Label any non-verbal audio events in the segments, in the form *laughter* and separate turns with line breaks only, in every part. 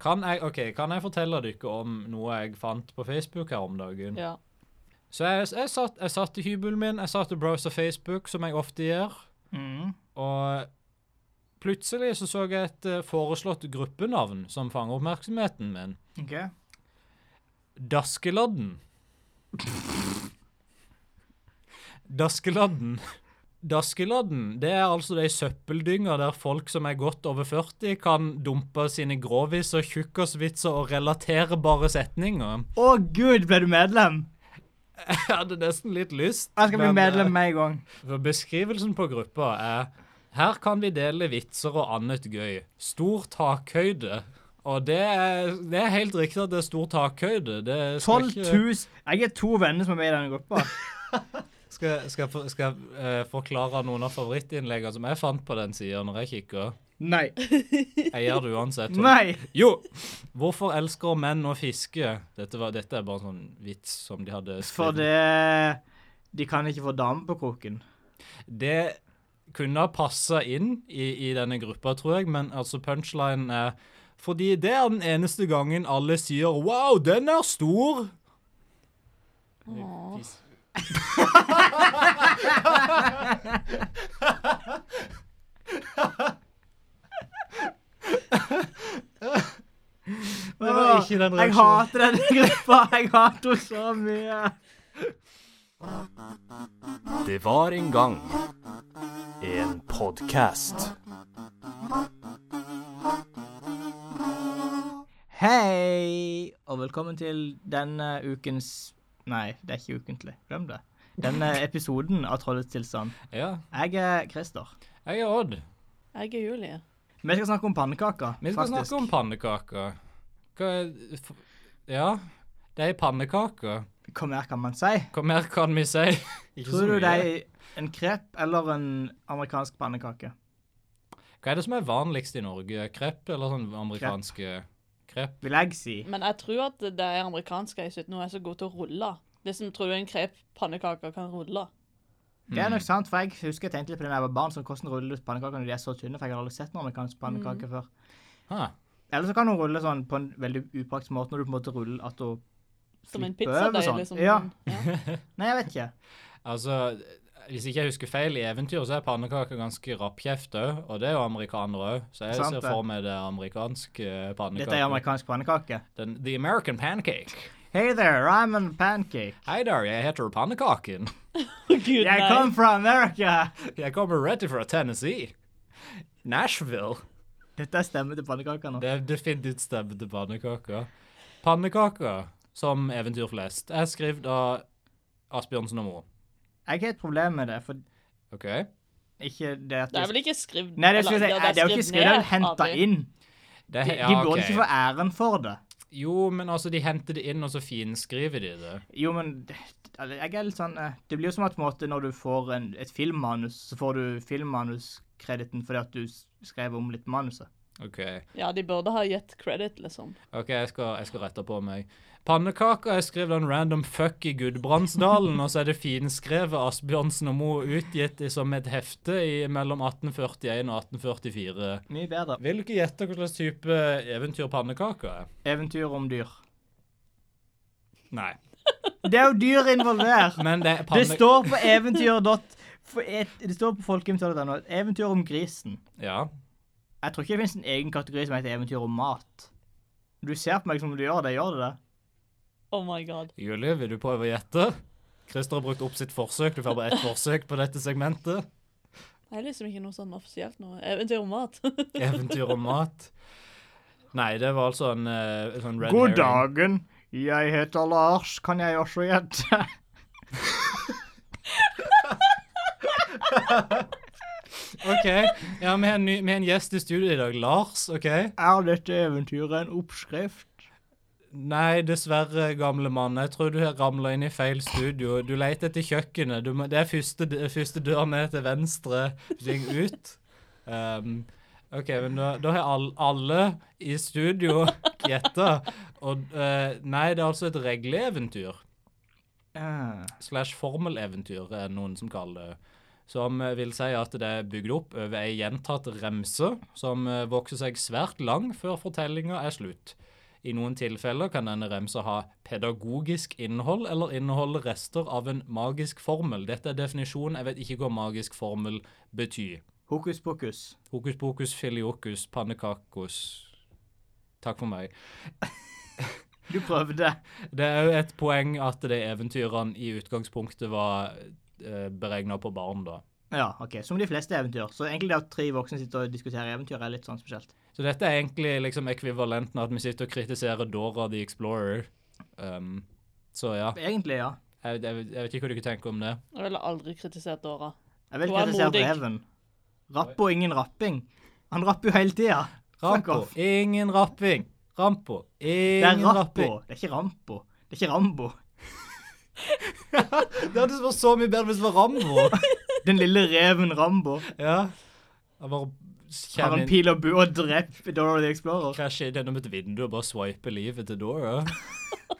Kan jeg, ok, kan jeg fortelle dere om noe jeg fant på Facebook her om dagen?
Ja.
Så jeg, jeg, satt, jeg satt i hybelen min, jeg satt og browsa Facebook, som jeg ofte gjør.
Mm.
Og plutselig så, så jeg et eh, foreslått gruppenavn som fanger oppmerksomheten min.
OK.
Daskeladden. Daskeladden. Daskeladden det er altså de søppeldynga der folk som er godt over 40, kan dumpe sine gråviser, tjukkasvitser og relaterbare setninger.
Å gud, ble du medlem?
Jeg hadde nesten litt lyst.
Jeg skal bli
men, eh,
medlem med en gang.
For Beskrivelsen på gruppa er her kan vi dele vitser og annet gøy. Stor takhøyde. Og det er, det er helt riktig at det er stor takhøyde. Det
12
skal
000 Jeg er to venner som er med i denne
*laughs*
gruppa.
Skal, skal, jeg for- skal jeg eh, forklare noen av favorittinnleggene som jeg fant på den sida når jeg kikker?
Nei.
Jeg gjør det uansett. Tom.
*laughs* Nei.
Jo! Hvorfor elsker menn å fiske? Dette, var, dette er bare en sånn vits som de hadde
For det De kan ikke få dame på kroken.
Det kunne ha passa inn i, i denne gruppa, tror jeg, men altså punchlinen er Fordi det er den eneste gangen alle sier 'wow, den er stor'.
Åh.
Fis- Det var ikke den
Jeg
reaksjonen.
hater denne *laughs* gruppa. Jeg hater henne så mye.
Det var en gang en podkast.
Hei, og velkommen til denne ukens Nei, det er ikke ukentlig. Glem det. Denne episoden av Trollets tilstand.
Ja.
Jeg er Christer.
Jeg er Odd.
Jeg er Julie.
Vi skal snakke om pannekaker,
Vi skal
faktisk.
snakke om pannekaker. Hva er- f- Ja, det er pannekaker.
Hva mer kan man si?
Hva mer kan vi si? Ikke så
Tror du
mye.
det er en krepp eller en amerikansk pannekake?
Hva er det som er vanligst i Norge? Krepp eller sånn amerikanske krepp?
Vil jeg si.
Men jeg tror at det er amerikansk jeg synes nå er så god til å rulle. Det som tror du en krep pannekaker kan rulle.
Mm.
Det er nok sant, for jeg husker jeg tenkte litt på det da jeg var barn, sånn hvordan ruller du ut pannekaker når de er så tynne, for jeg har aldri sett noen
Mm.
amerikansk pannekake før.
Ah,
Eller så kan hun rulle sånn på en veldig upraktisk måte, når du på en måte ruller at hun
Som en
Flipper
pizzadeig,
over sånn.
liksom.
Ja. *laughs*
Ja.
Nei, jeg vet ikke.
altså, hvis ikke jeg husker feil, i eventyr så er pannekaker ganske rappkjeft òg, og det er jo amerikanere òg, så jeg
Sant
ser
det.
for meg det amerikanske
Dette er
pannekaker.
amerikansk pannekake.
Den- The American pancake.
Hey there, I'm a pancake.
Hei der, jeg heter Pannekaken. *laughs*
Gud,
Jeg
nei.
come from America!
Jeg kommer rett fra Tennessee. Nashville.
*laughs* Dette er stemmen til pannekaker nå.
Det er definitivt stemme til pannekaker. Pannekaker, som eventyr flest, er skrevet av Asbjørnsen og Moe.
Jeg har et problem med det, for
OK?
ikke det at
Det er vel ikke skrevet
Nei, det, skulle jeg si, eh, det er jo ikke skrevet, det er jo henta inn.
Det,
De,
ja,
de burde
ok.
ikke få æren for det.
Jo, men altså, de henter det inn, og så finskriver de det.
Jo, men det- eller, jeg er litt sånn eh, Det blir jo som at på en måte, når du får en, et filmmanus, så får du filmmanuskrediten fordi at du s- skrev om litt manuset.
OK,
Ja, de burde ha gitt credit, liksom.
ok, jeg skal, jeg skal rette på meg. Pannekaker er skrevet av en random fuck i Gudbrandsdalen, og så er det finskrevet Asbjørnsen og Moe utgitt i- som et hefte i mellom 1841 og 1844.
Mye bedre.
Vil du ikke gjette hva slags type eventyr pannekaker er?
Eventyr om dyr.
Nei.
Det er jo dyr *laughs* involvert!
Men det er
Det
panne...
står på eventyr. dot- for et- Det står på folkeeventyr.no et eventyr om grisen.
Ja.
Jeg tror ikke det finnes en egen kategori som heter eventyr om mat. Du ser på meg som om du gjør det. Gjør du det?
Oh my god.
Julie, vil du prøve å gjette? Christer har brukt opp sitt forsøk. Du får bare ett forsøk på dette
Det
segmentet.
er liksom ikke noe sånn offisielt nå. Eventyr om mat. *laughs*
Eventyr om mat. Nei, det var altså en eh, sånn red
God
herring.
dagen. Jeg heter Lars. Kan jeg også gjette?
OK. Ja, vi har, en ny, vi har en gjest i studio i dag. Lars, OK?
Er dette eventyret en oppskrift?
Nei, dessverre, gamle mann. Jeg tror du har ramla inn i feil studio. Du leter etter kjøkkenet. Du må, det er første, d- første dør ned til venstre. Ring ut. Um, OK, men da, da har all, alle i studio *laughs* gjetta. Og eh, Nei, det er altså et regleeventyr.
Eh,
Slash formeleventyr er det noen eh, som kaller det. som eh, vil si at det er bygd opp over ei gjentatt remse som eh, vokser seg svært lang før fortellinga er slutt. I noen tilfeller kan denne remsa ha pedagogisk innhold eller inneholde rester av en magisk formel. Dette er definisjonen, jeg vet ikke hva magisk formel betyr.
Hokus pokus.
Hokus pokus, filiokus, pannekakus. Takk for meg.
Du prøvde.
Det er jo et poeng at de eventyrene i utgangspunktet var eh, beregna på barn, da.
Ja, ok. Som de fleste eventyr. Så egentlig det at tre voksne sitter og diskuterer eventyr, er litt sånn spesielt.
Så dette er egentlig liksom ekvivalenten av at vi sitter og kritiserer Dora the Explorer. Um, så ja.
Egentlig, ja.
Jeg, jeg, jeg vet ikke hva dere tenker om det.
Jeg ville aldri kritisert Dora.
Jeg vil
Hun er
kritisere
modig.
reven. Rapp og ingen rapping. Han rapper jo hele tida. Fuck
Rampo,
off.
ingen rapping. Rampo,
Det er
ingen
Rappo.
rapping.
Det er ikke Rampo. Det er ikke Rambo.
Det hadde vært så mye bedre hvis det var Rambo.
Den lille reven Rambo
*laughs* ja. Jeg bare
har
kommer
en
inn,
pil og bue og dreper Dora the Explorer.
krasjer inn gjennom et vindu og bare swiper livet til Dora.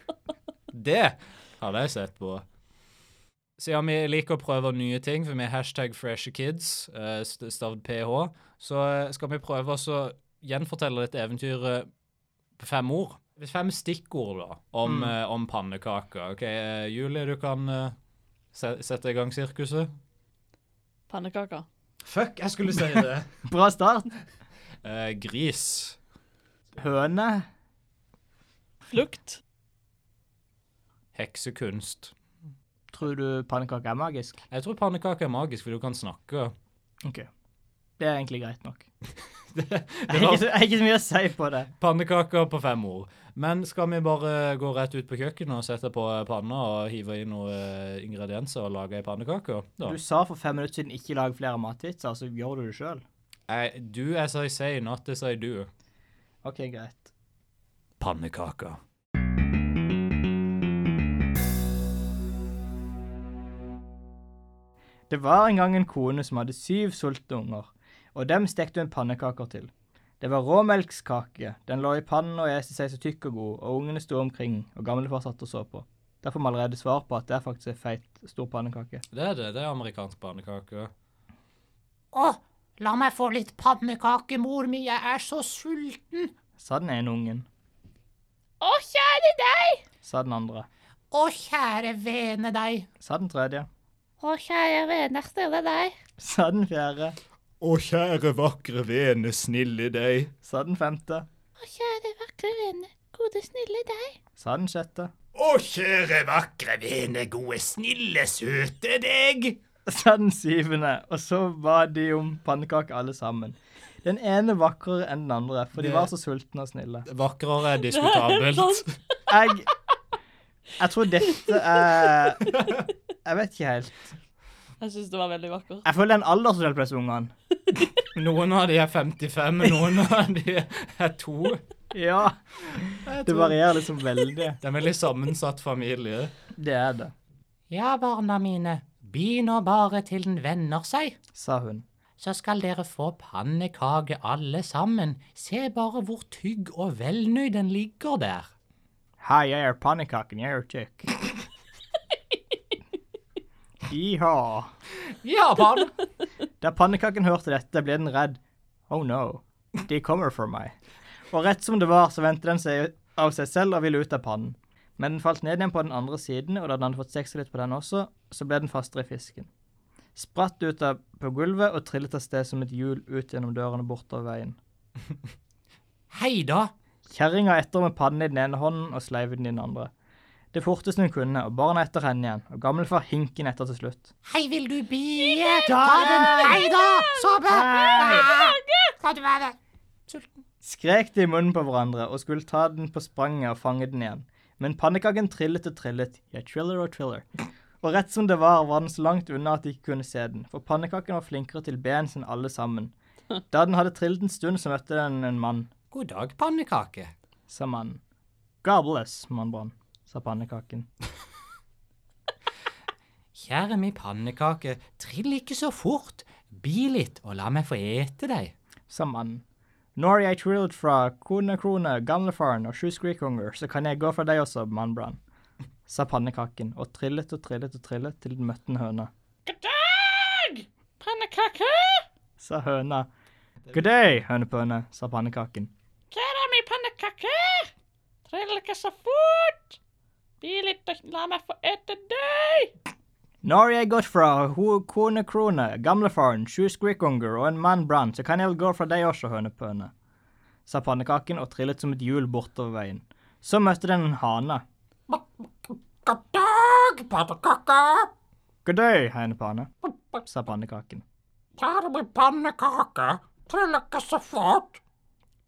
*laughs* det hadde jeg sett på. Siden vi liker å prøve nye ting, for vi er hashtag freshe kids, eh, st- stavd ph, så eh, skal vi prøve oss å gjenfortelle dette eventyret på fem ord. Fem stikkord da, om,
Mm.
eh, om pannekaker. Ok, eh, Julie, du kan eh, se sette i gang sirkuset.
Pannekaker.
Fuck, jeg skulle si det.
Bra start.
*laughs* Eh, gris.
Høne.
Flukt.
Heksekunst.
Tror du pannekaker er magisk?
Jeg tror pannekaker er magisk, for du kan snakke.
OK. Det er egentlig greit nok.
*laughs*
*laughs*
det,
Jeg har ikke, så- jeg har ikke så mye å si på det.
Pannekaker på fem ord. Men skal vi bare gå rett ut på kjøkkenet og sette på panna og hive inn noen eh, ingredienser og lage ei pannekake? da?
Du sa for fem minutter siden ikke lag flere matvitser, så gjør du det sjøl.
Eh, Do as I say, not as I do.
OK, greit.
Pannekaker.
Det var en gang en kone som hadde syv sultne unger, og dem stekte hun pannekaker til. Det var råmelkskake, den lå i pannen og este seg så tykk og god, og ungene sto omkring, og gamlefar satt og så på. Der får vi allerede svar på at det er faktisk en feit, stor pannekake.
Det er det. Det er amerikansk pannekake.
Å, la meg få litt pannekake, mor mi, jeg er så sulten.
Sa den ene ungen,
Å, kjære deg.
sa den andre,
Å, kjære vene deg.
sa den tredje,
Å, kjære vene stille deg.
sa den fjerde,
Å, kjære, vakre vene, snille deg.
sa den femte,
Å, kjære vakre vene, gode snille deg.
sa den sjette,
Å, kjære, vakre vene, gode, snille, søte deg.
*laughs* sa den syvende, og så ba de om pannekake alle sammen. Den ene vakrere enn den andre, for de
Det-
var så sultne og snille.
Vakrere er diskutabelt.
sant.
Jeg Jeg tror dette er Jeg vet ikke helt.
Jeg syns det var veldig vakkert.
Jeg føler det er en aldersforskjell på disse ungene.
Noen av de er 55, noen av de er to.
Ja. Det varierer liksom veldig.
Det er en veldig sammensatt familie.
*laughs* Det er det,
Ja, barna mine, by nå bare til den vender seg.
sa hun.
Så skal dere få pannekake alle sammen. Se bare hvor tygg og velnøyd den ligger der.
Hei, jeg er pannekaken. Jeg er *laughs* tjukk. Iha.
Ja, barn.
Da pannekaken hørte dette, ble den redd. Oh no. De kommer for meg. Og rett som det var, så vendte den seg av seg selv og ville ut av pannen. Men den falt ned igjen på den andre siden, og da den hadde fått seksa litt på den også, så ble den fastere i fisken. Spratt ut av på gulvet og trillet av sted som et hjul ut gjennom døren og bortover veien.
Hei da.
Kjerringa etter med pannen i den ene hånden og sleiven i den andre. Det forteste hun kunne, og barna etter henne igjen, og gammelfar hinken etter til slutt.
Hei, vil du bie? Ta den. Hei da, sove. Kan du være sulten?
Skrek de i munnen på hverandre og skulle ta den på spranget og fange den igjen. Men pannekaken trillet og trillet, ja, triller og triller. Og rett som det var, var den så langt unna at de ikke kunne se den, for pannekaken var flinkere til bens enn alle sammen. Da den hadde trillet en stund, så møtte den en mann,
God dag, pannekake.
sa mannen. God bless, mannbrann, sa pannekaken.
Kjære mi pannekake, trill ikke så fort. Bi litt, og la meg få ete deg.
sa mannen. Når jeg trillet fra kone, krone, gamlefaren og sju skrikunger, så kan jeg gå fra deg også, mannbrann, sa pannekaken, og trillet og trillet og trillet til den møtte en høne.
pannekake?
sa høna. God day, hønepøne, sa pannekaken.
Kjære mi pannekake! Trill ikke så fort! Bli litt og la meg få ete deg!
Når jeg gått fra ho- kone krone, gamlefaren, sju skrikkunger og en mann brann, så kan jeg vel gå fra deg også, hønepøne, sa pannekaken og trillet som et hjul bortover veien. Så møtte den en hane.
God dag, pannekake.
God day, hønepane, sa pannekaken.
Kjære min pannekake, trill ikke så fort.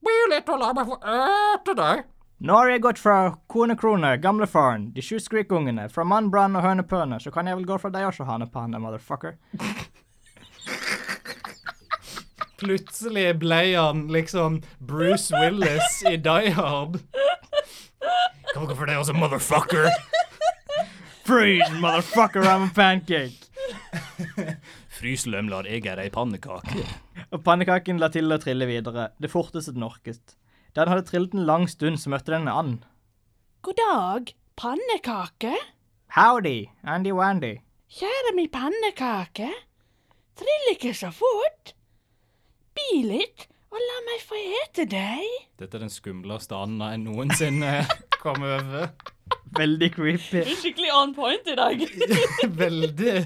Bli litt og la meg få ete deg.
Nå har jeg gått fra kone krone, gamlefaren, de sju skrikungene, fra mann brann og hønepøne, så kan jeg vel gå fra deg også, hanepane, motherfucker.
Plutselig ble han liksom Bruce Willis i Die Hard. Kan dere for det også, motherfucker?
Freeze, motherfucker, I'm a pancake!
Frys lømler, jeg er ei pannekake.
Og pannekaken la til å trille videre, det forteste den orket. Da den hadde trillet en lang stund, så møtte den en and.
God dag, pannekake.
Howdy, Andy Wandy.
Kjære mi pannekake. Trill ikke så fort. Bli litt og la meg få ete deg.
Dette er den skumleste anda jeg noensinne *laughs* kom over. *laughs*
Veldig creepy.
er skikkelig on point i dag.
Veldig.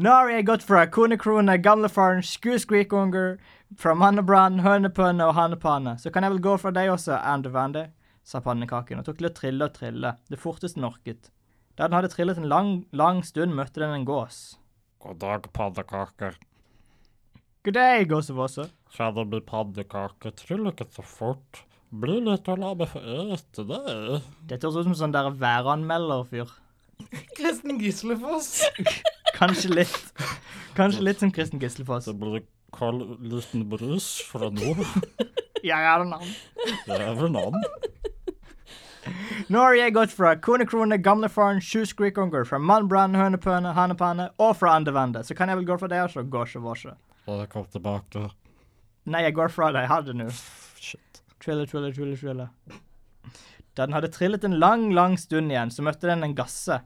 Nå har jeg gått fra konekrone, gamlefaren, skueskrikunger, fra mannebrann, hønepønne og hanepane. Så kan jeg vel gå fra deg også, Andy Wandy, sa pannekaken og tok til å trille og trille, det forteste den orket. Da den hadde trillet en lang, lang stund, møtte den en gås.
God dag, pannekaker.
God day, gåsevåse,
Kjenner min pannekake. Tryll ikke så fort. Bli litt og la meg få ete det.
Dette høres ut som sånn der væranmelder-fyr.
Kristen Gislefoss.
Kanskje litt. Kanskje litt som Kristen Gislefoss.
Det blir kald liten brus fra nå.
Jeg er en annen.
Det er vel navn.
Nå har jeg gått fra konekrone, gamlefaren, sjuskrikunger, fra mannbrann, hønepøne, hanepanne og fra andevende, så kan jeg vel gå fra det også, gåsjevåsje.
Og jeg kom tilbake.
Nei, jeg går fra det, jeg har det nå.
Shit.
Trille, trille, trille, trille. Da den hadde trillet en lang, lang stund igjen, så møtte den en gasse.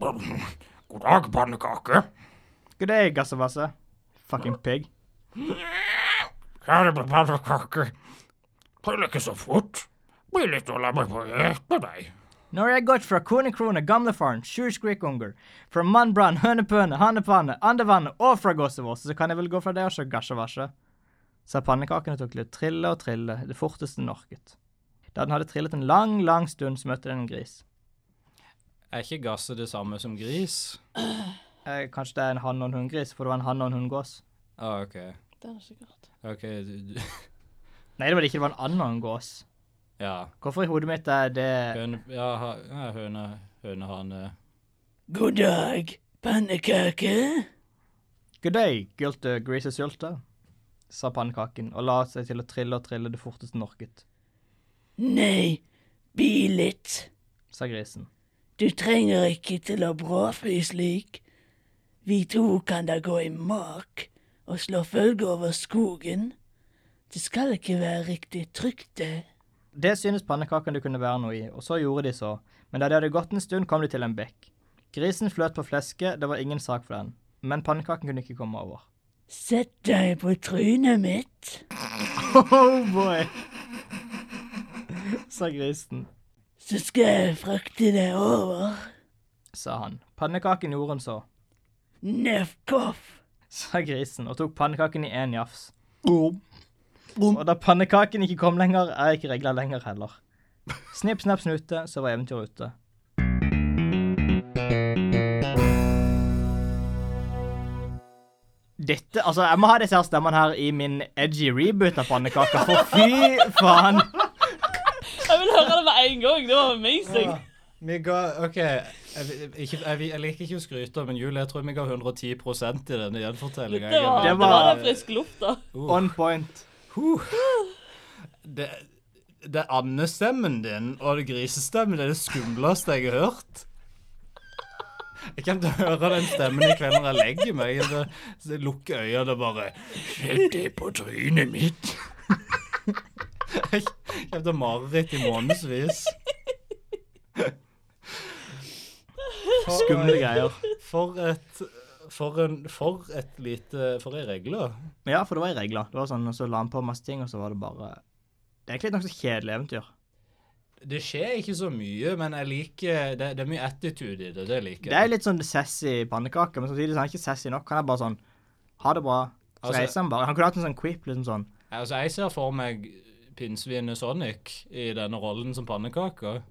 God dag, pannekake.
God day, gassevasse. Fucking pig.
Kjære min pannekake. Tryll ikke så fort. Bli litt og la meg få ete deg.
Nå har jeg gått fra konekrone, gamlefaren, sjuskrikunger, fra mannbrann, hønepøne, hanepanne, andevende og fra gåsevåse, så kan jeg vel gå fra det også, gasjevasje. sa pannekakene tok til å trille og trille, det forteste den orket. Da den hadde trillet en lang, lang stund, så møtte den en gris.
Er ikke gasse det samme som gris?
Eh, kanskje det er en hann- og en hunngris, for det var en hann og en hunngås.
Ah, OK.
Det er sikkert.
OK, du, du.
Nei, det var det ikke, det var en and og en gås.
Ja.
Hvorfor i hodet mitt er det
Høne, ja, ha, ja, høne, hønehane.
God dag, pannekake.
Good day, gulte grisesylte, sa pannekaken og la seg til å trille og trille det forteste den orket,
Nei, bli litt.
sa grisen.
Du trenger ikke til å bråfly slik. Vi to kan da gå i mak og slå følge over skogen. Det skal ikke være riktig trygt, det.
Det synes pannekakene det kunne være noe i, og så gjorde de så, men da de hadde gått en stund, kom de til en bekk. Grisen fløt på flesket, det var ingen sak for den, men pannekaken kunne ikke komme over.
Sett deg på trynet mitt.
Oh boy! sa grisen,
så skal jeg frakte deg over.
sa han. Pannekaken gjorde hun så,
Neff koff.
sa grisen, og tok pannekaken i en jafs. Og da pannekaken ikke kom lenger, er ikke regla lenger heller. Snipp, snapp, snute, så var eventyret ute. Dette, altså Jeg må ha disse her stemmene her i min edgy reboot av pannekaker, for fy faen!
Jeg vil høre det med en gang. Det var amazing.
Vi ga OK. Jeg, vil- ikke, jeg, vil- jeg liker ikke å skryte, men Julie, jeg tror vi ga 110 i denne gjenfortellinga.
Det var, det
var-
var da frisk luft, da.
On point.
det, det er andestemmen din og det grisestemmen det er det skumleste jeg har hørt. Jeg kan ikke høre den stemmen i kveld når jeg legger meg. Jeg bare- så jeg lukker øynene og bare Sett det på trynet mitt. Jeg jeg har mareritt i månedsvis.
Skumle greier.
For et for, en, for et lite For ei regle.
Men ja, for det var i regler. Det var sånn, og Så la han på masse ting, og så var det bare Det er egentlig et nokså kjedelig eventyr.
Det skjer ikke så mye, men jeg liker Det, det er mye attitude i det. Det liker
Det er litt sånn sassy pannekake, men samtidig så er han ikke sassy nok. Han er bare sånn Ha det bra. Så
Altså-
reiser han bare. Han kunne hatt en sånn quip, liksom sånn.
Altså, jeg ser for meg pinnsvinet Sonic i denne rollen som pannekaka.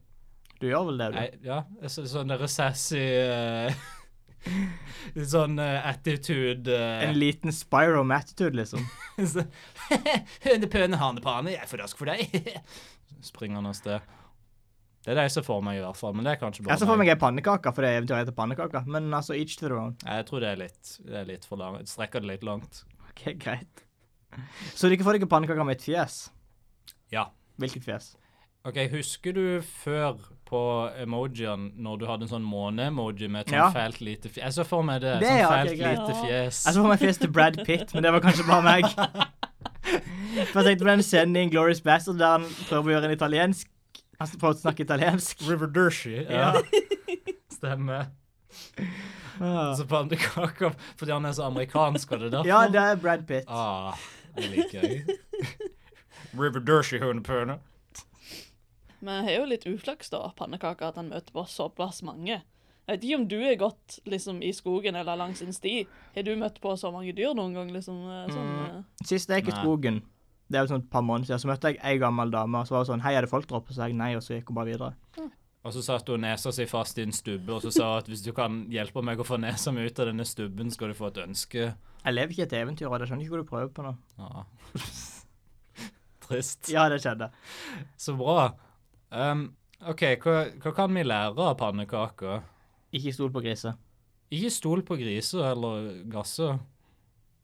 Du gjør vel det, du?
Jeg- Ja, jeg så- sånn der sassy eh, *laughs* Litt sånn eh, attitude eh,
En liten Spyro attitude, liksom.
*laughs* så- Hønepøne, hanepane, jeg er for rask for deg. *laughs* Springer han av sted. Det er det jeg ser for meg, i hvert fall. Men det er kanskje bare
Jeg ser for meg ei pannekake, for det eventyret heter pannekake. Men altså, each to their own.
Nei, Jeg tror det er litt, det er litt for langt. Strekker det litt langt.
*laughs* Ok, greit. Så dere får ikke pannekaker med et fjes?
Ja.
Hvilket fjes?
OK, husker du før på emojien når du hadde en sånn måne-emoji med et sånt
Ja.
fælt lite fjes? Jeg så for meg det.
Det,
sånn
ja, ok,
fælt
greit. Altså,
lite fjes.
Jeg så for meg fjeset til Brad Pitt, men det var kanskje bare *laughs* meg. For jeg tenkte på den scenen i Glorious Bastard der han prøver å gjøre en italiensk Han prøver å snakke *laughs* italiensk.
River Dershi.
*laughs*
Ja. Stemmer. Så pannekaker fordi han er så amerikansk, og det er derfor?
Ah. Ja, det er Brad Pitt.
Ah, det liker jeg. River Dershi hundepøne.
Men det er jo litt uflaks, da, pannekaka, at han møter på såpass mange. Jeg vet ikke om du har gått liksom, i skogen eller langs en sti. Har du møtt på så mange dyr noen gang? liksom eh, sånn... eh?
Sist jeg gikk i
Nei.
skogen, det er jo sånn et par måneder siden, så møtte jeg ei gammel dame. og Så var hun sånn Hei, er det folk der oppe? Så sa jeg nei, og så gikk hun bare videre.
Og så satte hun nesa si fast i en stubbe og så sa hun at hvis du kan hjelpe meg å få nesa mi ut av denne stubben, skal du få et ønske.
Jeg lever ikke et eventyr, og jeg skjønner ikke hva du prøver på nå.
Ah. Trist.
Ja, det skjedde.
Så bra. Um, OK, hva, hva kan vi lære av pannekaker?
Ikke stol på griser.
Ikke stol på griser eller gasser.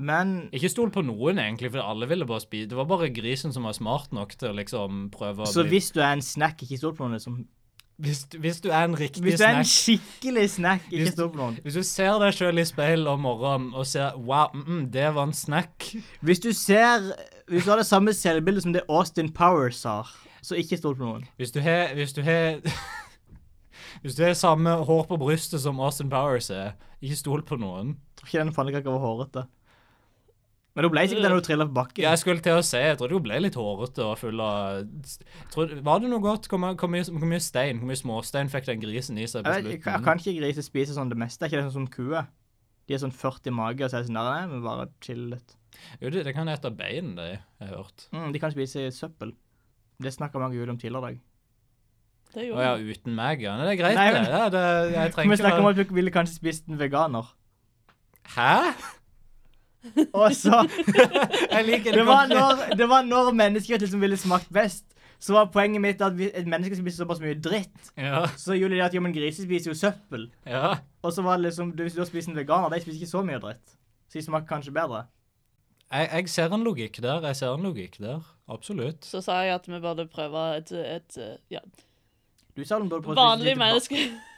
Men
Ikke stol på noen, egentlig, for alle ville bare spise. Det var bare grisen som var smart nok til å liksom prøve å
så
bli
hvis du er en snack, ikke stol på noen, liksom.
hvis, hvis du er en riktig
Hvis du er en
snack
skikkelig snack, ikke
Hvis-
stol på noen.
Hvis du ser deg sjøl i speilet om morgenen og ser Wow, mm, mm, det var en snack.
Hvis du ser Hvis du har det samme selvbildet som det Austin Powers har, så ikke stol på noen.
Hvis du har Hvis du har *laughs* Hvis du har samme hår på brystet som Austin Powers er, ikke stol på noen.
Jeg tror ikke den pannekaka var hårete. Men hun ble sikkert den hun trilla på bakken.
Jeg skulle til å si Jeg trodde hun ble litt hårete og full av jeg trodde, Var det noe godt? Hvor mye, hvor, mye, hvor mye stein, hvor mye småstein fikk den grisen i seg på
Jeg, vet, ikke-
slutten?
jeg kan ikke griser spise sånn det meste. Er ikke det sånn som kuer? De er sånn 40 i mage, og så er det sånn der, nei, men bare chill litt.
Jo, det, det kan hete bein, det har jeg hørt.
Mm, de kan spise søppel. Det snakka Meg og Julie om tidligere i dag.
Det er
Å
jo
ja, uten meg, ja. Nei, Det er greit,
Nei,
det.
men-
Ja, det jeg
Vi
trenger
snakka om
ikke å
at du ville kanskje spist en veganer.
Hæ?
Og
*laughs*
så
Jeg liker
Det var når, det var når mennesker liksom ville smakt best. Så var poenget mitt at hvis et menneske spiser såpass mye dritt,
Ja,
så gjorde de det at jo, men griser spiser jo søppel.
ja.
Og så var det liksom, du- hvis du har spist en veganer, de spiser ikke så mye dritt. Så de smaker kanskje bedre.
Jeg, jeg ser en logikk der. Jeg ser en logikk der. Absolutt.
Så sa jeg at vi burde prøve et, et eh, ja,
Du sa de burde prøve å spise
vanlig
lite ba-
menneske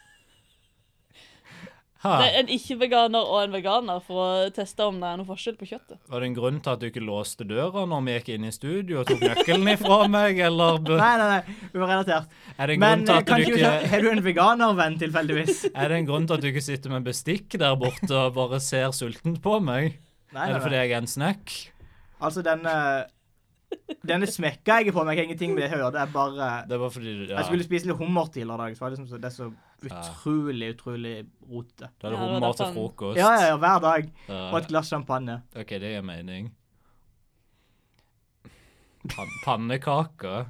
Ha,
Det er En ikke-veganer og en veganer for å teste om det er noe forskjell på kjøttet.
var det en grunn til at du ikke låste døra når vi gikk inn i studio og tok nøkkelen ifra meg, eller b-
Nei, nei, nei, urelatert.
er det en grunn
Men
til
eh,
at du
kan ikke du *laughs*
ikke
Har du en veganervenn,
*laughs*
tilfeldigvis?
er det en grunn til at du ikke sitter med bestikk der borte og bare ser sultent på meg?
Nei,
er det
nei,
fordi
nei.
jeg er en snack?
Altså, denne Denne smekka jeg er på meg, har ingenting med det å gjøre. Det er bare
Det var fordi du ja,
Jeg skulle spise litt hummer tidligere i dag, så var det liksom så, det er så utrolig, utrolig rotete.
Da er det
Ja, det var
hummer til
derfor-
frokost.
Ja, ja, ja, hver dag.
Ja.
Og et glass champagne.
OK, det gir mening. Pan Pannekaker.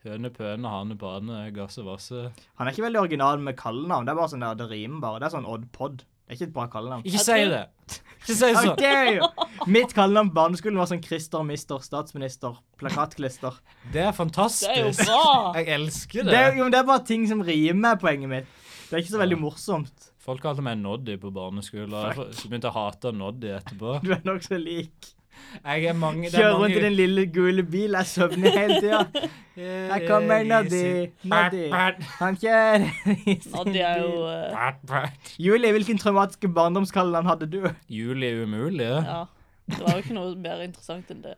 Høne pøne, hane bane, gasse vasse.
Han er ikke veldig original med kallenavn. Det er bare sånn der, det rimer bare. Det er sånn Odd Pod. Det er ikke et bra kallenavn.
Ikke
Jeg
si
tror-
det! Ikke si
How
sånn!
dare you! Mitt kallenavn på barneskolen var sånn Christer, mister, statsminister, plakatklister.
*laughs* Det er
Det er jo
fantastisk.
bra!
*laughs* Jeg elsker
Det,
det.
er- jo, men det er bare ting som rimer, er poenget mitt. Det er ikke så veldig morsomt.
Folk kalte meg Noddy på barneskolen. og Jeg begynte å hate Noddy etterpå.
Du er nokså lik.
Jeg er mange, det er
Kjører rundt
mange,
i den lille gule bilen, jeg søvner hele tida. Her kommer
Eh,
Noddy. Noddy. Han kjører i
Og
sin
det er jo
bil.
eh,
Julie, hvilken traumatiske barndomskallenavn hadde du?
Juli er umulig.
Ja. Det var jo ikke noe mer interessant enn det.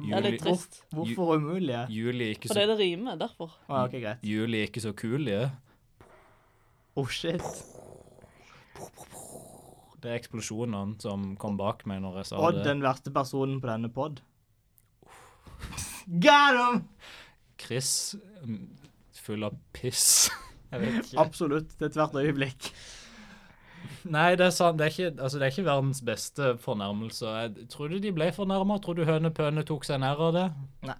Det er
Juli,
litt trist.
Hvorfor umulige?
juli, er ikke
Fordi
så,
det rimer, derfor.
Å, ok, greit.
juli er ikke så kul, ja.
Oh, shit.
Det er eksplosjonene som kom bak meg når jeg sa
Odd,
det.
den verste personen på denne pod. Got him!
Chris mm, full av piss. Jeg vet ikke.
Absolutt. Til ethvert øyeblikk.
Nei, det er sant. Det er ikke, altså, det er ikke verdens beste fornærmelse. Jeg, tror du de ble fornærma? Tror du hønepøne tok seg nær av det?
Nei.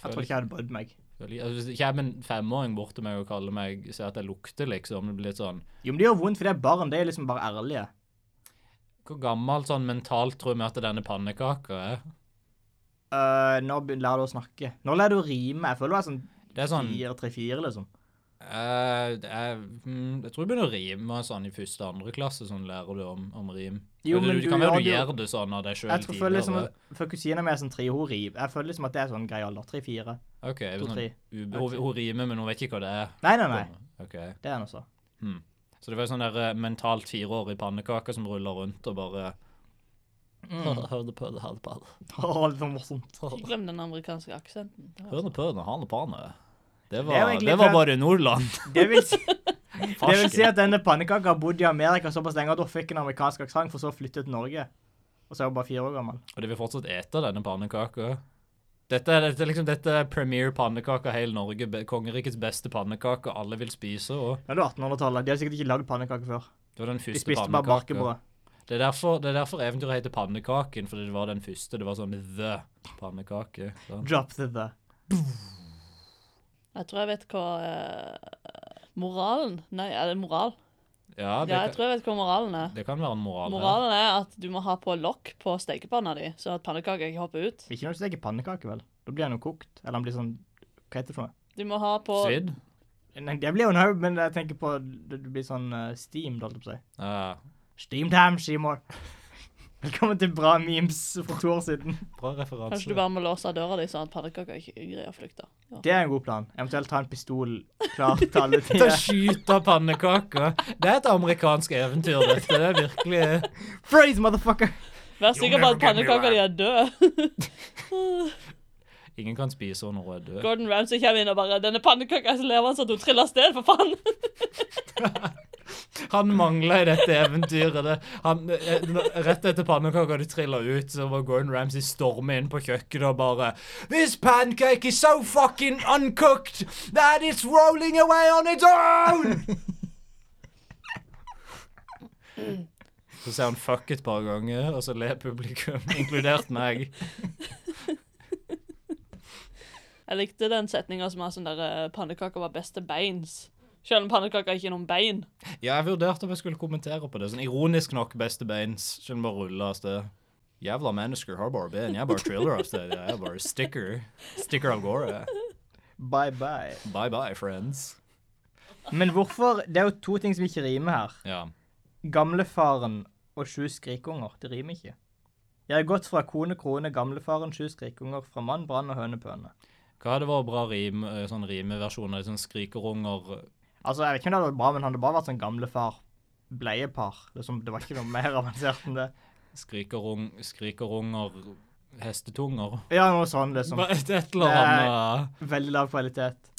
Jeg tror ikke jeg hadde brydd meg.
Føler ikke- Altså, hvis det kommer en femåring bort til meg og kaller meg sier at jeg lukter, liksom, det blir litt sånn
Jo, men det gjør vondt, for det er barn. De er liksom bare ærlige.
Hvor gammel sånn mentalt tror vi at denne pannekaka er?
Øh, nå begyn- lærer du å snakke. Nå lærer du å rime. Jeg føler du er sånn
Det er sånn
fire, tre-fire, liksom.
eh, det er, mm, Jeg tror du begynner å rime sånn i første og andre klasse, sånn lærer du om, om rim.
Jo,
Eller
men
du,
du
det kan være
har
du
jo-
gjør det sånn av deg sjøl
Jeg tror føler liksom
tidligere.
For kusina mi er sånn tre, hun river. Jeg føler liksom at det er sånn grei alder. Tre-fire.
OK.
to,
Sånn,
tre.
ube- hun, hun rimer, men hun vet ikke hva det er.
Nei, nei, nei.
Ok.
Det er noe *laughs* så.
Så det var sånn der eh, mentalt fireårig pannekake som ruller rundt og bare Hørte på det, hadde panne.
Åh, det var morsomt.
Ikke glem den amerikanske aksenten. Det var-
Hørte på det, hadde panne. Det
jo
var,
egentlig
det var
klart-
bare Nordland.
Det vil, si, *laughs* det vil si at denne pannekaka har bodd i Amerika såpass lenge at hun fikk en amerikansk aksent, for så å flytte til Norge. Og så er hun bare fire år gammel.
Og de vil fortsatt ete denne pannekaka. Dette er, dette, er liksom, dette er premier pannekaka hele Norge. Be, kongerikets beste pannekake alle vil spise. Og
Nå er det 1800-tallet. De har sikkert ikke lagd pannekaker før.
det var den
De
første
spiste bare
pannekaka.
barkebrød.
Det er derfor, det er derfor eventyret heter Pannekaken, fordi det var den første. Det var sånn the pannekake. Sånn.
Drop the the.
Jeg tror jeg vet hva eh, Moralen Nei, er det moral?
Ja, det,
Ja, jeg
kan,
tror jeg vet hva moralen er.
det kan være en moral. her.
Moralen er at du må ha på lokk på stekepanna di, så at pannekaka ikke hopper ut.
Ikke når du steker pannekake, vel. Da blir den jo kokt. Eller den blir sånn Hva heter det for noe?
Du må ha på
Svidd?
Nei, det blir jo noe, men jeg tenker på Det det blir sånn uh, steamed, holdt jeg på å si.
Ja.
Steamed ham, Seymour. Velkommen til bra memes for to år siden.
Bra referanse.
Kanskje du bare må låse døra di, sånn at pannekaka ikke greier å flykte. Ja.
Det er en god plan. Eventuelt ta en pistol klar til *laughs* alle
Til å
tider.
skyte pannekaker. Det er et amerikansk eventyr, dette. Det er virkelig
Freeze, motherfucker!
Vær sikker på at pannekaka di er død.
Ingen kan spise henne når hun er død.
*laughs* Gordon Ramsay kommer inn og bare 'Denne pannekaka er så levende at hun triller av sted, for faen!' *laughs*
Han mangler i dette eventyret. Det. Han, eh, n- rett etter pannekaka hadde trilla ut, så var Gordon Ramsay storme inn på kjøkkenet og bare This pancake is so fucking uncooked that it's rolling away on its own! Så sier han fuck et par ganger, og så ler publikum, inkludert meg.
Jeg likte den setninga som var sånn der eh, 'Pannekaka var best til beins'. Selv om pannekaka ikke er noen bein.
Ja, jeg vurderte om jeg skulle kommentere på det. Sånn ironisk nok, beste beins. Skjønner bare rulle av sted. Jævla mennesker har bare ben. Jeg er bare thriller av sted. Jeg er bare sticker. Sticker av gårde.
Bye bye.
Bye bye, friends.
Men hvorfor Det er jo to ting som ikke rimer her.
Ja.
Gamlefaren og sju skrikunger. Det rimer ikke. Jeg har gått fra kone, krone, gamlefaren, sju skrikunger, fra mann, brann og hønepøne.
Hva hadde vært bra rim, eh, sånn rimeversjon av de sånn skrikerunger?
Altså, jeg vet ikke om det hadde vært bra, men han hadde bare vært sånn gamlefar, bleiepar. Liksom, det var ikke noe mer *laughs* avansert enn det.
Skrikerung... Skrikerunger Hestetunger?
Ja, noe sånn, liksom.
Hva- Et eller annet.
Veldig lav kvalitet.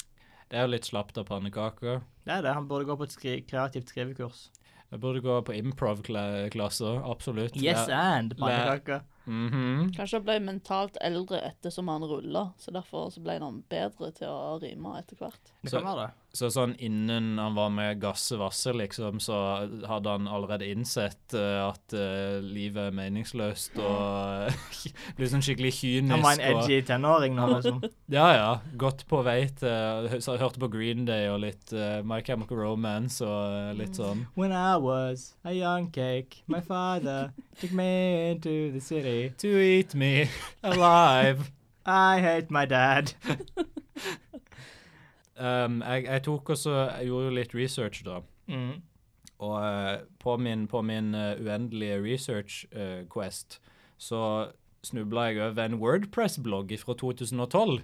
Det er jo litt slapt av pannekaker.
Det er det. Han burde gå på et skri kreativt skrivekurs.
Jeg burde gå på improv-klasser. Absolutt.
Yes
Det-
and pannekaker.
Mhm.
Kanskje han ble mentalt eldre etter som han rulla, så derfor så ble han bedre til å rime etter hvert.
Det
Så-
kan være det.
Så sånn innen han var med Gasse Vasse, liksom, så hadde han allerede innsett eh, at eh, livet er meningsløst og *laughs* blir sånn skikkelig kynisk.
Han var en
og-
edgy tenåring nå, liksom.
Ja, ja. Gått på vei til hø- så Hørte på Green Day og litt eh, My Chemical Romance og eh,
Mm.
litt sånn.
*laughs* When I was a young cake, my father took me into the city.
To eat me *laughs* alive.
I hate my dad.
Um, jeg, jeg tok også Jeg gjorde jo litt research, da.
Mm.
Og eh, på min, på min eh, uendelige research eh, quest så snubla jeg over en Wordpress-blogg fra 2012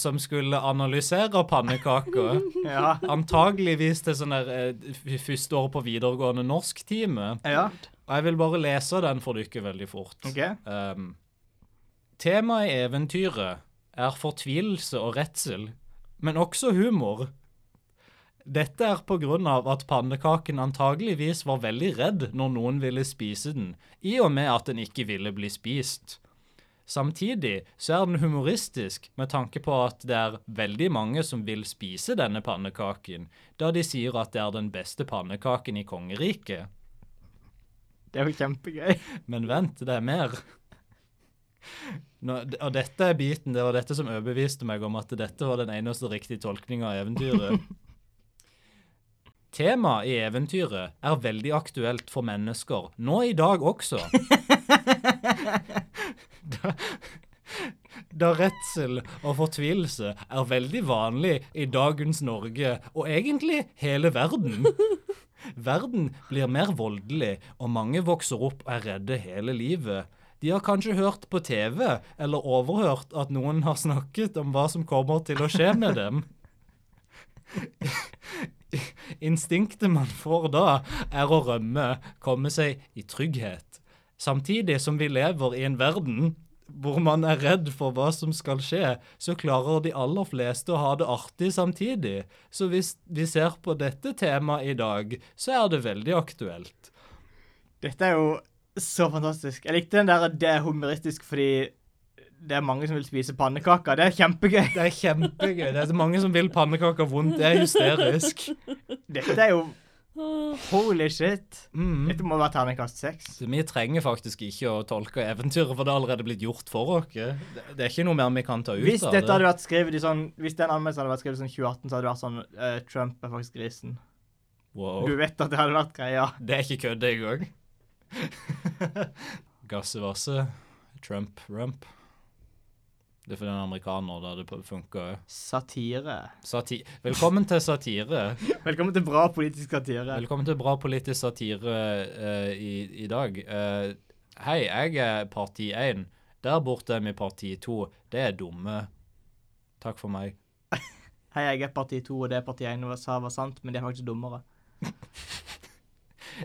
som skulle analysere pannekaker.
*laughs* Ja.
Antageligvis til sånn der eh, f- første året på videregående norsktime.
ja.
Og jeg vil bare lese den for dere veldig fort.
OK.
Um, temaet i eventyret er fortvilelse og redsel, men også humor. Dette er på grunn av at pannekaken antageligvis var veldig redd når noen ville spise den, i og med at den ikke ville bli spist. Samtidig så er den humoristisk med tanke på at det er veldig mange som vil spise denne pannekaken, da de sier at det er den beste pannekaken i kongeriket.
Det er jo kjempegøy.
Men vent, det er mer. Nå, d- og dette er biten, det var dette som overbeviste meg om at dette var den eneste riktige tolkninga av eventyret. Temaet i eventyret er veldig aktuelt for mennesker, nå i dag også. Da, da redsel og fortvilelse er veldig vanlig i dagens Norge, og egentlig hele verden. Verden blir mer voldelig, og mange vokser opp og er redde hele livet. De har kanskje hørt på TV eller overhørt at noen har snakket om hva som kommer til å skje med dem. Instinktet man får da, er å rømme, komme seg i trygghet. Samtidig som vi lever i en verden hvor man er redd for hva som skal skje, så klarer de aller fleste å ha det artig samtidig. Så hvis vi ser på dette temaet i dag, så er det veldig aktuelt.
Dette er jo så fantastisk. Jeg likte den der at det er humoristisk fordi det er mange som vil spise pannekaker. Det er kjempegøy.
Det er kjempegøy. Det er så mange som vil pannekaker vondt. Det er hysterisk.
Dette *laughs* er jo Holy shit.
Mm.
Dette må være terningkast seks.
Så vi trenger faktisk ikke å tolke eventyret, for det er allerede blitt gjort for oss. Det, det er ikke noe mer vi kan ta ut
Hvis
av
dette hadde
det.
vært skrevet i sånn Hvis den anmeldelsen hadde vært skrevet i sånn 2018, så hadde det vært sånn eh, Trump er faktisk grisen.
Wow.
Du vet at det hadde vært greia.
Det er ikke kødd engang. *laughs* Gassevasse, Trump, rump. Det er fordi han er amerikaner, da det funka òg.
Satire.
Sati Velkommen til satire.
Velkommen til bra politisk satire.
Velkommen til bra politisk satire eh, i, i dag. Eh, hei, jeg er parti 1. Der borte er vi parti 2. Det er dumme. Takk for meg.
Hei, jeg er parti to, og det parti én sa var sant, men de er faktisk dummere.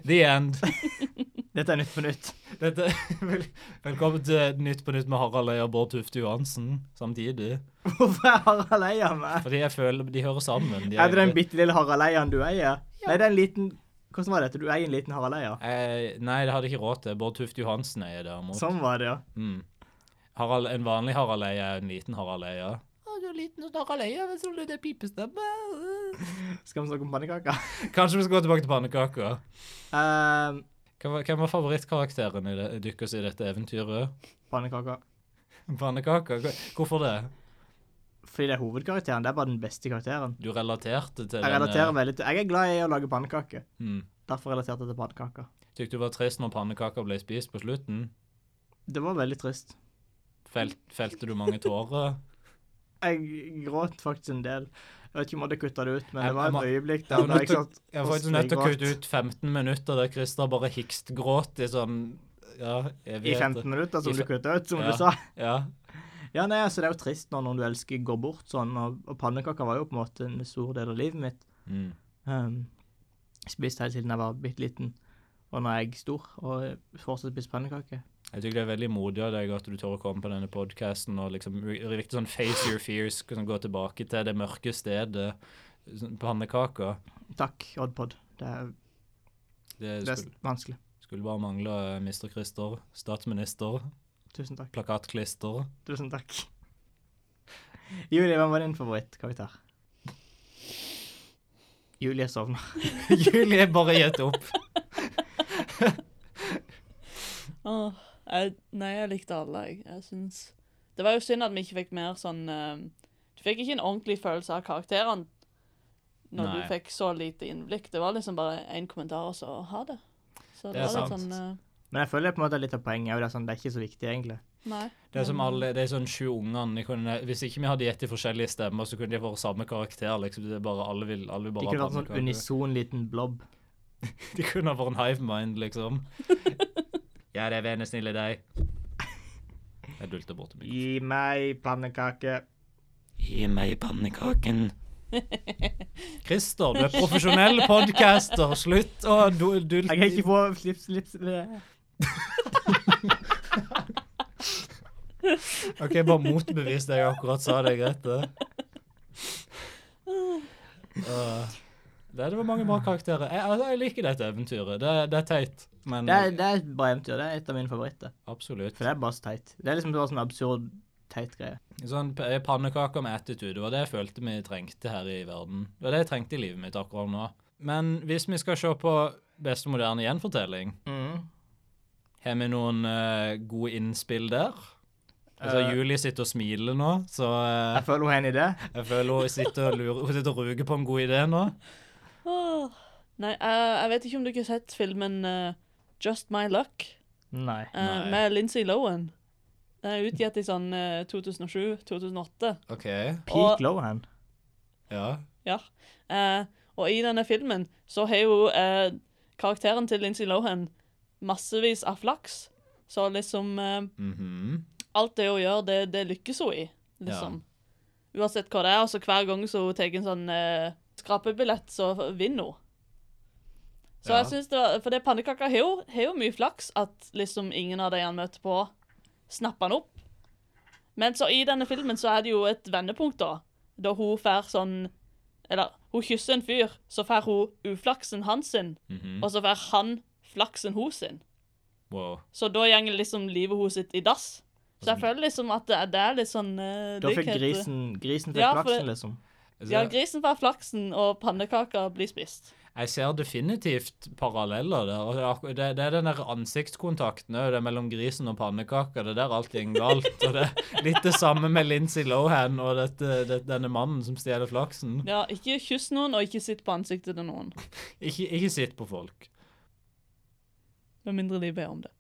The end. *laughs*
Dette er Nytt på Nytt. *laughs*
Dette, vel, velkommen til Nytt på Nytt med Harald Eia og Bård Tufte Johansen samtidig.
Hvorfor er Harald Eia med?
Fordi jeg føler de hører sammen. De
Er det den bitte lille Harald Eiaen du eier? Nei, det er en liten Hvordan var dette? Du eier en liten Harald Eia?
Eh, nei, det hadde jeg ikke råd til. Bård Tufte Johansen eier derimot.
Sånn var det, ja.
Mm. Harald, en vanlig Harald Eia er en liten Harald Eia. Å, Du er liten Harald Eia, men så det pipestemme.
Skal vi snakke om pannekaker? *laughs*
Kanskje vi skal gå tilbake til pannekaker.
Ehm,
Hvem var, hvem var favorittkarakteren i det- deres i dette eventyret?
pannekaker.
Pannekaker? Hva- Hvorfor det?
Fordi det er hovedkarakteren. Det er bare den beste karakteren.
Du relaterte til
Jeg
denne-
relaterer veldig til Jeg er glad i å lage pannekaker.
Mm.
Derfor relaterte jeg til pannekaker.
Tykte du var trist når pannekaker ble spist på slutten?
Det var veldig trist.
Felt, felte du mange tårer?
Jeg gråt faktisk en del. Jeg vet ikke om jeg hadde kutta det ut, men
Jeg-
det var
jeg må-
et øyeblikk
jeg må
der da
nødt
jeg
til-
satt
Jeg
og
var faktisk nødt til å
smilgråt
kutte ut 15 minutter der Christer bare hikstgråt i sånn ja,
i
evigheter.
15 minutter, som
I
du
fe-
kutta ut, som
Ja.
du sa.
Ja.
Ja, nei, altså Det er jo trist når noen du elsker, går bort sånn. Og, og pannekaker var jo på en måte en stor del av livet mitt.
Mm.
Um, spiste helt siden jeg var bitte liten. Og nå er jeg stor og fortsatt spiser pannekaker.
Jeg tykker det er veldig modig av deg at du tør å komme på denne podkasten og liksom re- virkelig sånn face your fears, liksom gå tilbake til det mørke stedet. Sånn Pannekaker.
Takk, Oddpod. Det er,
Det
det er
skulle,
s- vanskelig.
skulle bare mangle eh, Mr. Christer, statsminister,
Tusen takk. *laughs*
plakatklister.
Tusen takk. Julie, hvem var din favorittkarakter? Julie sovner.
Julie bare gjett opp.
Åh, jeg, nei, jeg likte alle, jeg. jeg syns. Det var jo synd at vi ikke fikk mer sånn eh, Du fikk ikke en ordentlig følelse av karakterene når
Nei.
du fikk så lite innblikk. Det var liksom bare én kommentar, og så ha det. Så
Det
det,
er
var litt
sant.
sånn
Men jeg føler det på en måte er litt av poenget. og Det er, sånn, det er ikke så viktig, egentlig.
eh, Nei.
Det er som alle, det er sånn sju ungene. de kunne- Hvis ikke vi hadde gjett i forskjellige stemmer, så kunne de få samme karakter. liksom. Det er bare, alle vil, alle vil
De
bare
kunne
ha
vært en sånn
pannekaker.
unison liten blob.
*laughs* De kunne ha vært en hive mind,
*laughs*
liksom. ja, det er vene snille deg. Jeg dulter bort til meg.
Gi meg pannekake.
Gi meg pannekaken.
*laughs* Christer, du er profesjonell podcaster. Slutt å du- dulte.
Jeg er ikke på slips, slips
OK, bare motbevis det jeg akkurat sa. Det er greit, det. Uh, Det, det var mange bra karakterer. Jeg, altså, jeg liker dette eventyret. Det, det er teit, men
Det er, det er et bra eventyr. Det er et av mine favoritter.
absolutt.
For det er bare så teit. Det er liksom bare sånn absurd, teit greie.
Sånn p- pannekaker med attitude, det var det jeg følte vi trengte her i verden. Det var det jeg trengte i livet mitt akkurat nå. Men hvis vi skal se på beste moderne gjenfortelling, har vi noen eh, gode innspill der? Altså,
Eh.
Julie sitter og smiler nå, så eh,
Jeg føler hun har en idé.
jeg føler hun sitter og, lurer, hun sitter og ruger på en god idé nå.
Åh. Nei, jeg, jeg vet ikke om dere har sett filmen eh, Just My Luck
Nei.
eh,
Nei.
med Lindsay Lohan. Den er utgitt i sånn 2007-2008.
OK.
Peak Lohan.
Ja.
Ja. Eh, og i denne filmen så har jo eh, karakteren til Lindsay Lohan massevis av flaks. Så liksom eh,
Mhm.
Alt det hun gjør, det, det lykkes hun i, liksom. Uansett hva det er. Altså hver gang så hun tar en sånn eh, skrapebillett, så vinner hun. Så
Ja.
jeg synes det var, For det pannekaka har jo, har jo mye flaks at liksom ingen av de han møter på, snapper han opp. Men så i denne filmen så er det jo et vendepunkt, da. Da hun får sånn Eller hun kysser en fyr, så får hun uflaksen hans sin,
Mhm.
og så får han flaksen hun sin.
Wow.
Så da går liksom livet hennes sitt i dass. Så jeg føler liksom at det, er- det er litt sånn uh,
Da fikk grisen, grisen fikk
Ja, for-
flaksen, liksom.
Altså,
Ja, grisen får flaksen, og pannekaker blir spist.
Jeg ser definitivt paralleller der. og det er akkur- Det, det er den der ansiktskontakten òg, det er mellom grisen og pannekaka. Det er der alt går galt. og det er Litt det samme med Lindsay Lohan og dette, det, denne mannen som stjeler flaksen.
Ja, ikke kyss noen, og ikke sitt på ansiktet til noen.
Ikke, ikke sitt på folk.
Med mindre de ber om det.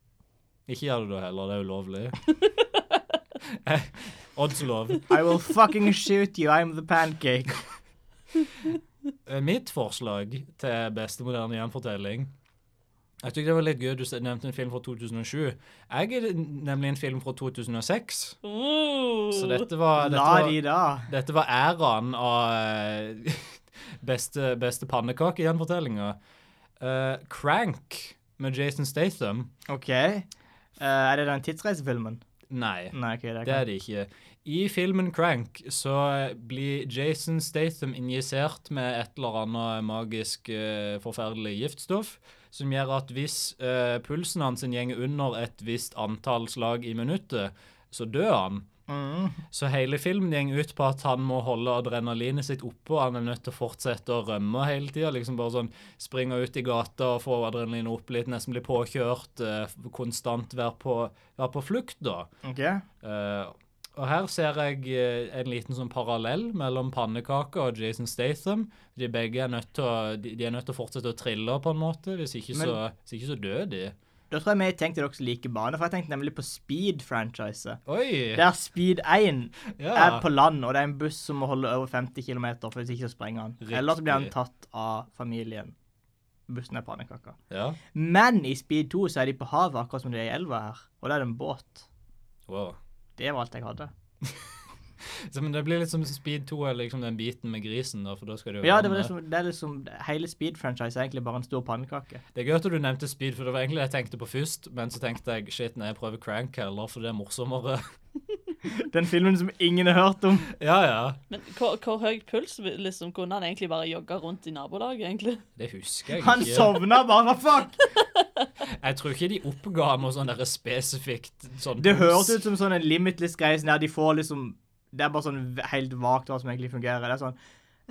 Ikke gjør det da heller, det er ulovlig. Eh, *laughs* Oddslov.
I will fucking shoot you, I'm the pancake.
Eh, Mitt forslag til beste moderne gjenfortelling Jeg tykker det var litt gøy du s- nevnte en film fra 2007. Jeg er nemlig en film fra 2006,
Uh,
så dette var, dette
La
var
de da.
Dette var æraen av eh, *laughs* beste, beste pannekake i den fortellinga. Eh, Crank med Jason Statham.
OK. Eh, er det den tidsreisefilmen?
Nei,
Nei, ok, det
det er
er ikke
det ikke. I filmen Crank så eh, blir Jason Statham injisert med et eller annet magisk eh, forferdelig giftstoff, som gjør at hvis eh, pulsen hans går under et visst antall slag i minuttet, så dør han.
mm.
Så hele filmen går ut på at han må holde adrenalinet sitt oppe, og han er nødt til å fortsette å rømme hele tida. Liksom bare sånn springe ut i gata og få adrenalinet opp litt, nesten bli påkjørt, eh, konstant være på, være på flukt, da.
OK.
Eh, og her ser jeg eh, en liten sånn parallell mellom pannekaka og Jason Statham. De begge er nødt til å, de, de er nødt til å fortsette å trille, på en måte. Hvis ikke,
Men-
så, hvis ikke så dør de.
Da tror jeg vi tenkte dere like bane, for jeg tenkte nemlig på Speed-franchiset.
Oi!
Der Speed 1 er
Ja.
på land, og det er en buss som må holde over 50 km, for hvis ikke så sprenger han. Eller så blir han
Riktig.
tatt av familien. Bussen er pannekaka.
ja.
Men i Speed 2 så er de på havet, akkurat som de er i elva her. Og da er det en båt.
Wow.
Det var alt jeg hadde.
Så, men det blir litt som Speed 2, eller liksom den biten med grisen, da, for da skal det jo
Men ja,
være
det, var
med.
det, som, det er liksom Hele Speed-franchise er egentlig bare en stor pannekake.
Det er gøy at du nevnte speed, for det var egentlig det jeg tenkte på først. Men så tenkte jeg shit, nei, jeg prøver crank heller, for det er morsommere. *laughs*
Den filmen som ingen har hørt om.
ja, ja.
Men hvor, hvor høy puls liksom, kunne han egentlig bare jogge rundt i nabolaget, egentlig?
Det husker jeg
Han
ikke.
sovna bare, hva fuck?
Jeg tror ikke de oppga noe sånn der spesifikt sånn
Det høres ut som sånn en limitless-greie sånn der de får liksom Det er bare sånn v- helt vagt hva som egentlig fungerer. Det er sånn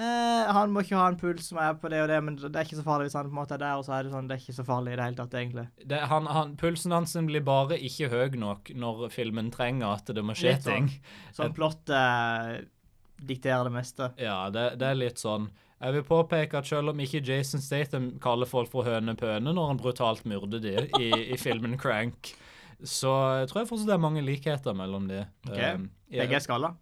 eh, Han må ikke ha en puls som er på det og det, men det er ikke så farlig hvis han på en måte er der, og så er det sånn Det er ikke så farlig i det hele tatt, egentlig.
det, han, han, Pulsen hans blir bare ikke høy nok når filmen trenger at det må skje
Litt sånn.
ting.
Sånn plott eh, dikterer det meste.
Ja, det, det er litt sånn. Jeg vil påpeke at selv om ikke Jason Statham kaller folk for hønepøne når han brutalt myrder de i, i filmen Crank, så tror jeg fortsatt det er mange likheter mellom de.
Ok.
Um, ja.
Begge er skalla.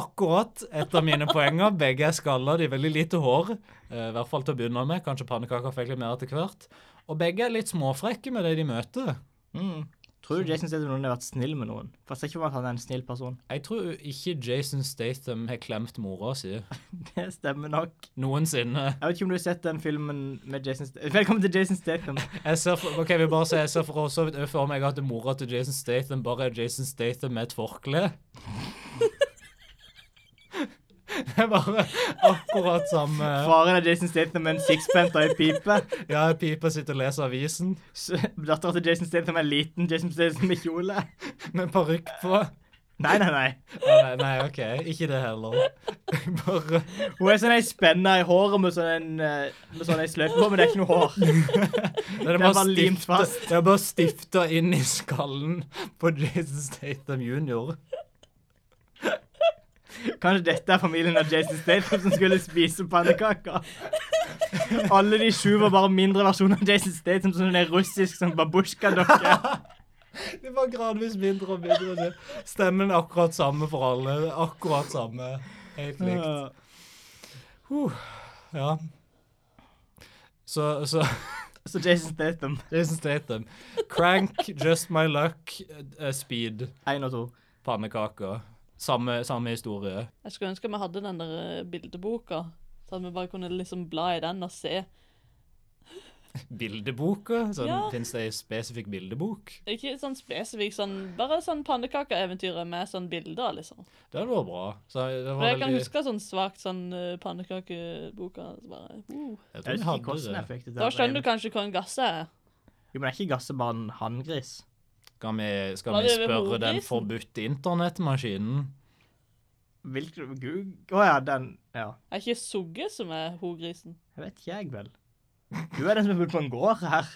akkurat etter mine poenger. Begge er skalla, de har veldig lite hår. eh, I hvert fall til å begynne med. Kanskje pannekaker fikk litt mer etter hvert. Og begge er litt småfrekke med det de møter.
Mm. Tror du Jason Statham noen har vært snill med noen? For jeg ser ikke for meg at han er en snill person. *laughs*
Jeg tror ikke Jason Statham har klemt mora si
Det stemmer nok.
noensinne.
Jeg vet ikke om du har sett den filmen med Jason Statham. *laughs* Velkommen til Jason Statham.
Jeg ser for, ok, vi bare ser, jeg ser for, så vidt for meg at mora til Jason Statham bare er Jason Statham med et forkle. Det er bare akkurat samme
Faren er Jason Statham med en sixpence og ei pipe.
Ja, pipa sitter og leser avisen
*laughs* Dattera til Jason Statham er liten Jason Statham med kjole.
med parykk på.
Nei, nei, nei.
Å, Nei, nei, OK. Ikke det heller. Bare
Hun er sånn ei spenne i håret med sånn en, eh, med sånn ei sløyfe på, men det er ikke noe hår.
Det er
Den
bare
var limt
stifta,
fast.
det er bare stifta inn i skallen på Jason Statham jr.
Kanskje dette er familien av Jason Statham som skulle spise pannekaker? Alle de sju var bare mindre versjoner av Jason Statham, sånn en russisk sånn
*laughs*
babusjka-dokke.
Det var gradvis mindre og mindre. det. Stemmen er akkurat samme for alle. Det er Akkurat samme. Helt likt. Ja. Så, så *laughs*
Så Jason Statham.
Jason Statham. Crank, Just My Luck, eh, Speed,
Én og to.
pannekaker. Samme, samme historie.
Jeg skulle ønske vi hadde den der eh, bildeboka, så at vi bare kunne liksom bla i den og se.
Bildeboka? Sånn,
Ja.
Fins det ei spesifikk bildebok?
Ikke sånn spesifikt, sånn, bare sånn pannekakeeventyret med sånn bilder, liksom.
Det hadde vært bra. Så det
For
var
jeg kan
veldig-
huske sånn svakt sånn eh, pannekakeboka. så bare,
jeg
uh.
tror
Jeg
vi
husker ikke
hadde
hvordan
det.
jeg fikk det til.
Da skjønner du kanskje hva en gass er.
Jo, men er ikke gassebanen hanngris?
Skal vi, skal
Var
vi
det ved
spørre den
hovedprisen?
forbudte internettmaskinen?
Hvilken Gud Å ja, den Ja.
Er ikke sugge som er hogrisen?
Jeg vet ikke, jeg vel. Du er den som har bodd på en gård her.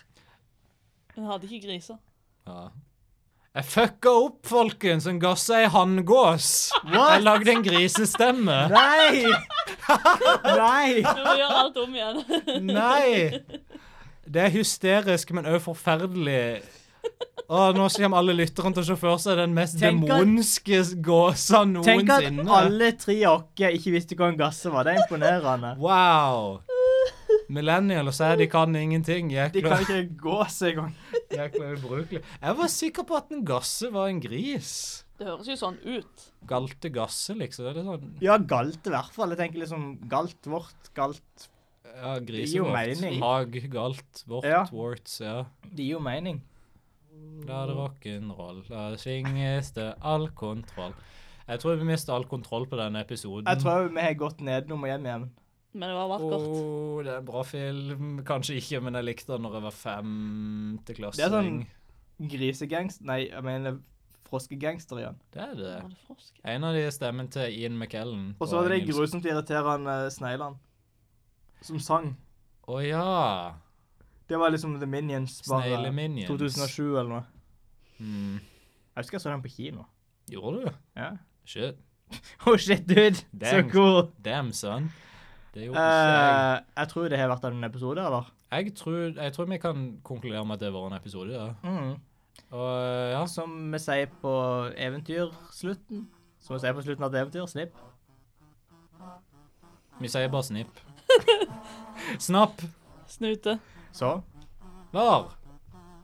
Hun hadde ikke griser.
Ja. Jeg fucka opp, folkens! En gass er ei hanngås! Jeg lagde en grisestemme!
Nei! Nei!
Du må gjøre alt om igjen. *laughs*
Nei! Det er hysterisk, men òg forferdelig. Å, nå kommer alle lytterne til å se for seg den mest
Tenk at-
demonske gåsa
Tenk at
noensinne.
alle tre av oss ikke visste hva en gasse var. Det er imponerende.
Wow! Millennials sier de kan ingenting.
De kan
Jækla,
ikke gå seg engang.
jækla ubrukelig. Jeg var sikker på at en gasse var en gris.
Det høres jo sånn ut.
Galte gasse, liksom. Det er sånn
Ja, galt i hvert fall. Jeg tenker liksom galt vårt, galt
Ja,
gir jo mening.
grisevort. Hag, galt, vort,
Ja.
warts, ja.
Det gir jo mening.
La det rock'n'roll, la det svinges det all kontroll. Jeg tror vi mister all kontroll på denne episoden.
Jeg tror vi har gått nedenom og hjem igjen.
Men det var vakkert.
Åh, Oh, det er en bra film. Kanskje ikke, men jeg likte den når jeg var femteklassing.
Det er sånn- Grisegangster Nei, jeg mener froskegangster igjen.
Det er det.
Var det frosk?
En av de er stemmen til Ian McKellen.
Og så hadde de grusomt irriterende sneglene som sang.
Å ja.
Det var liksom The Minions bare
Snaile Minions.
2007 eller noe.
Mm.
Jeg husker jeg så den på kino.
Gjorde du?
Ja.
Shit.
*laughs* Oh shit, dude!
Dang.
Så cool!
Damn, son. Det gjorde ikke jeg.
Eh, jeg tror det har vært en episode, eller?
Jeg tror, jeg tror vi kan konkludere med at det var en episode, ja.
Mm.
Og eh, ja,
Som vi sier på eventyrslutten. Som vi sier på slutten av et eventyr. Snipp.
vi sier bare snipp. *laughs* Snapp
Snute.
Så
var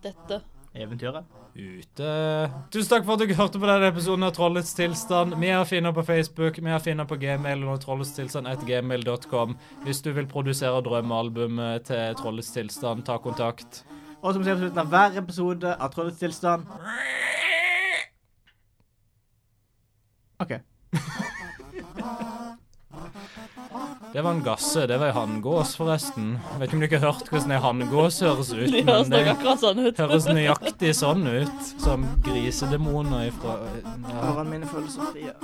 Dette.
eventyret.
ute. Tusen takk for at dere hørte på denne episoden av Trollets tilstand. Vi er å finne på Facebook, vi er å finne på gmail og trolletstilstand.gmail.com. Hvis du vil produsere drømmealbumet til Trollets tilstand, ta kontakt.
Og som vi sier på slutten av hver episode av Trollets tilstand OK.
Det var en gasse, det var en hanngås forresten. Vet ikke om dere har hørt hvordan en hanngås høres
*laughs*
ut,
Det
men
høres
det
nok akkurat sånn ut.
høres nøyaktig sånn ut. Som grisedemoner ifra ja.
Ørene mine føles så frie.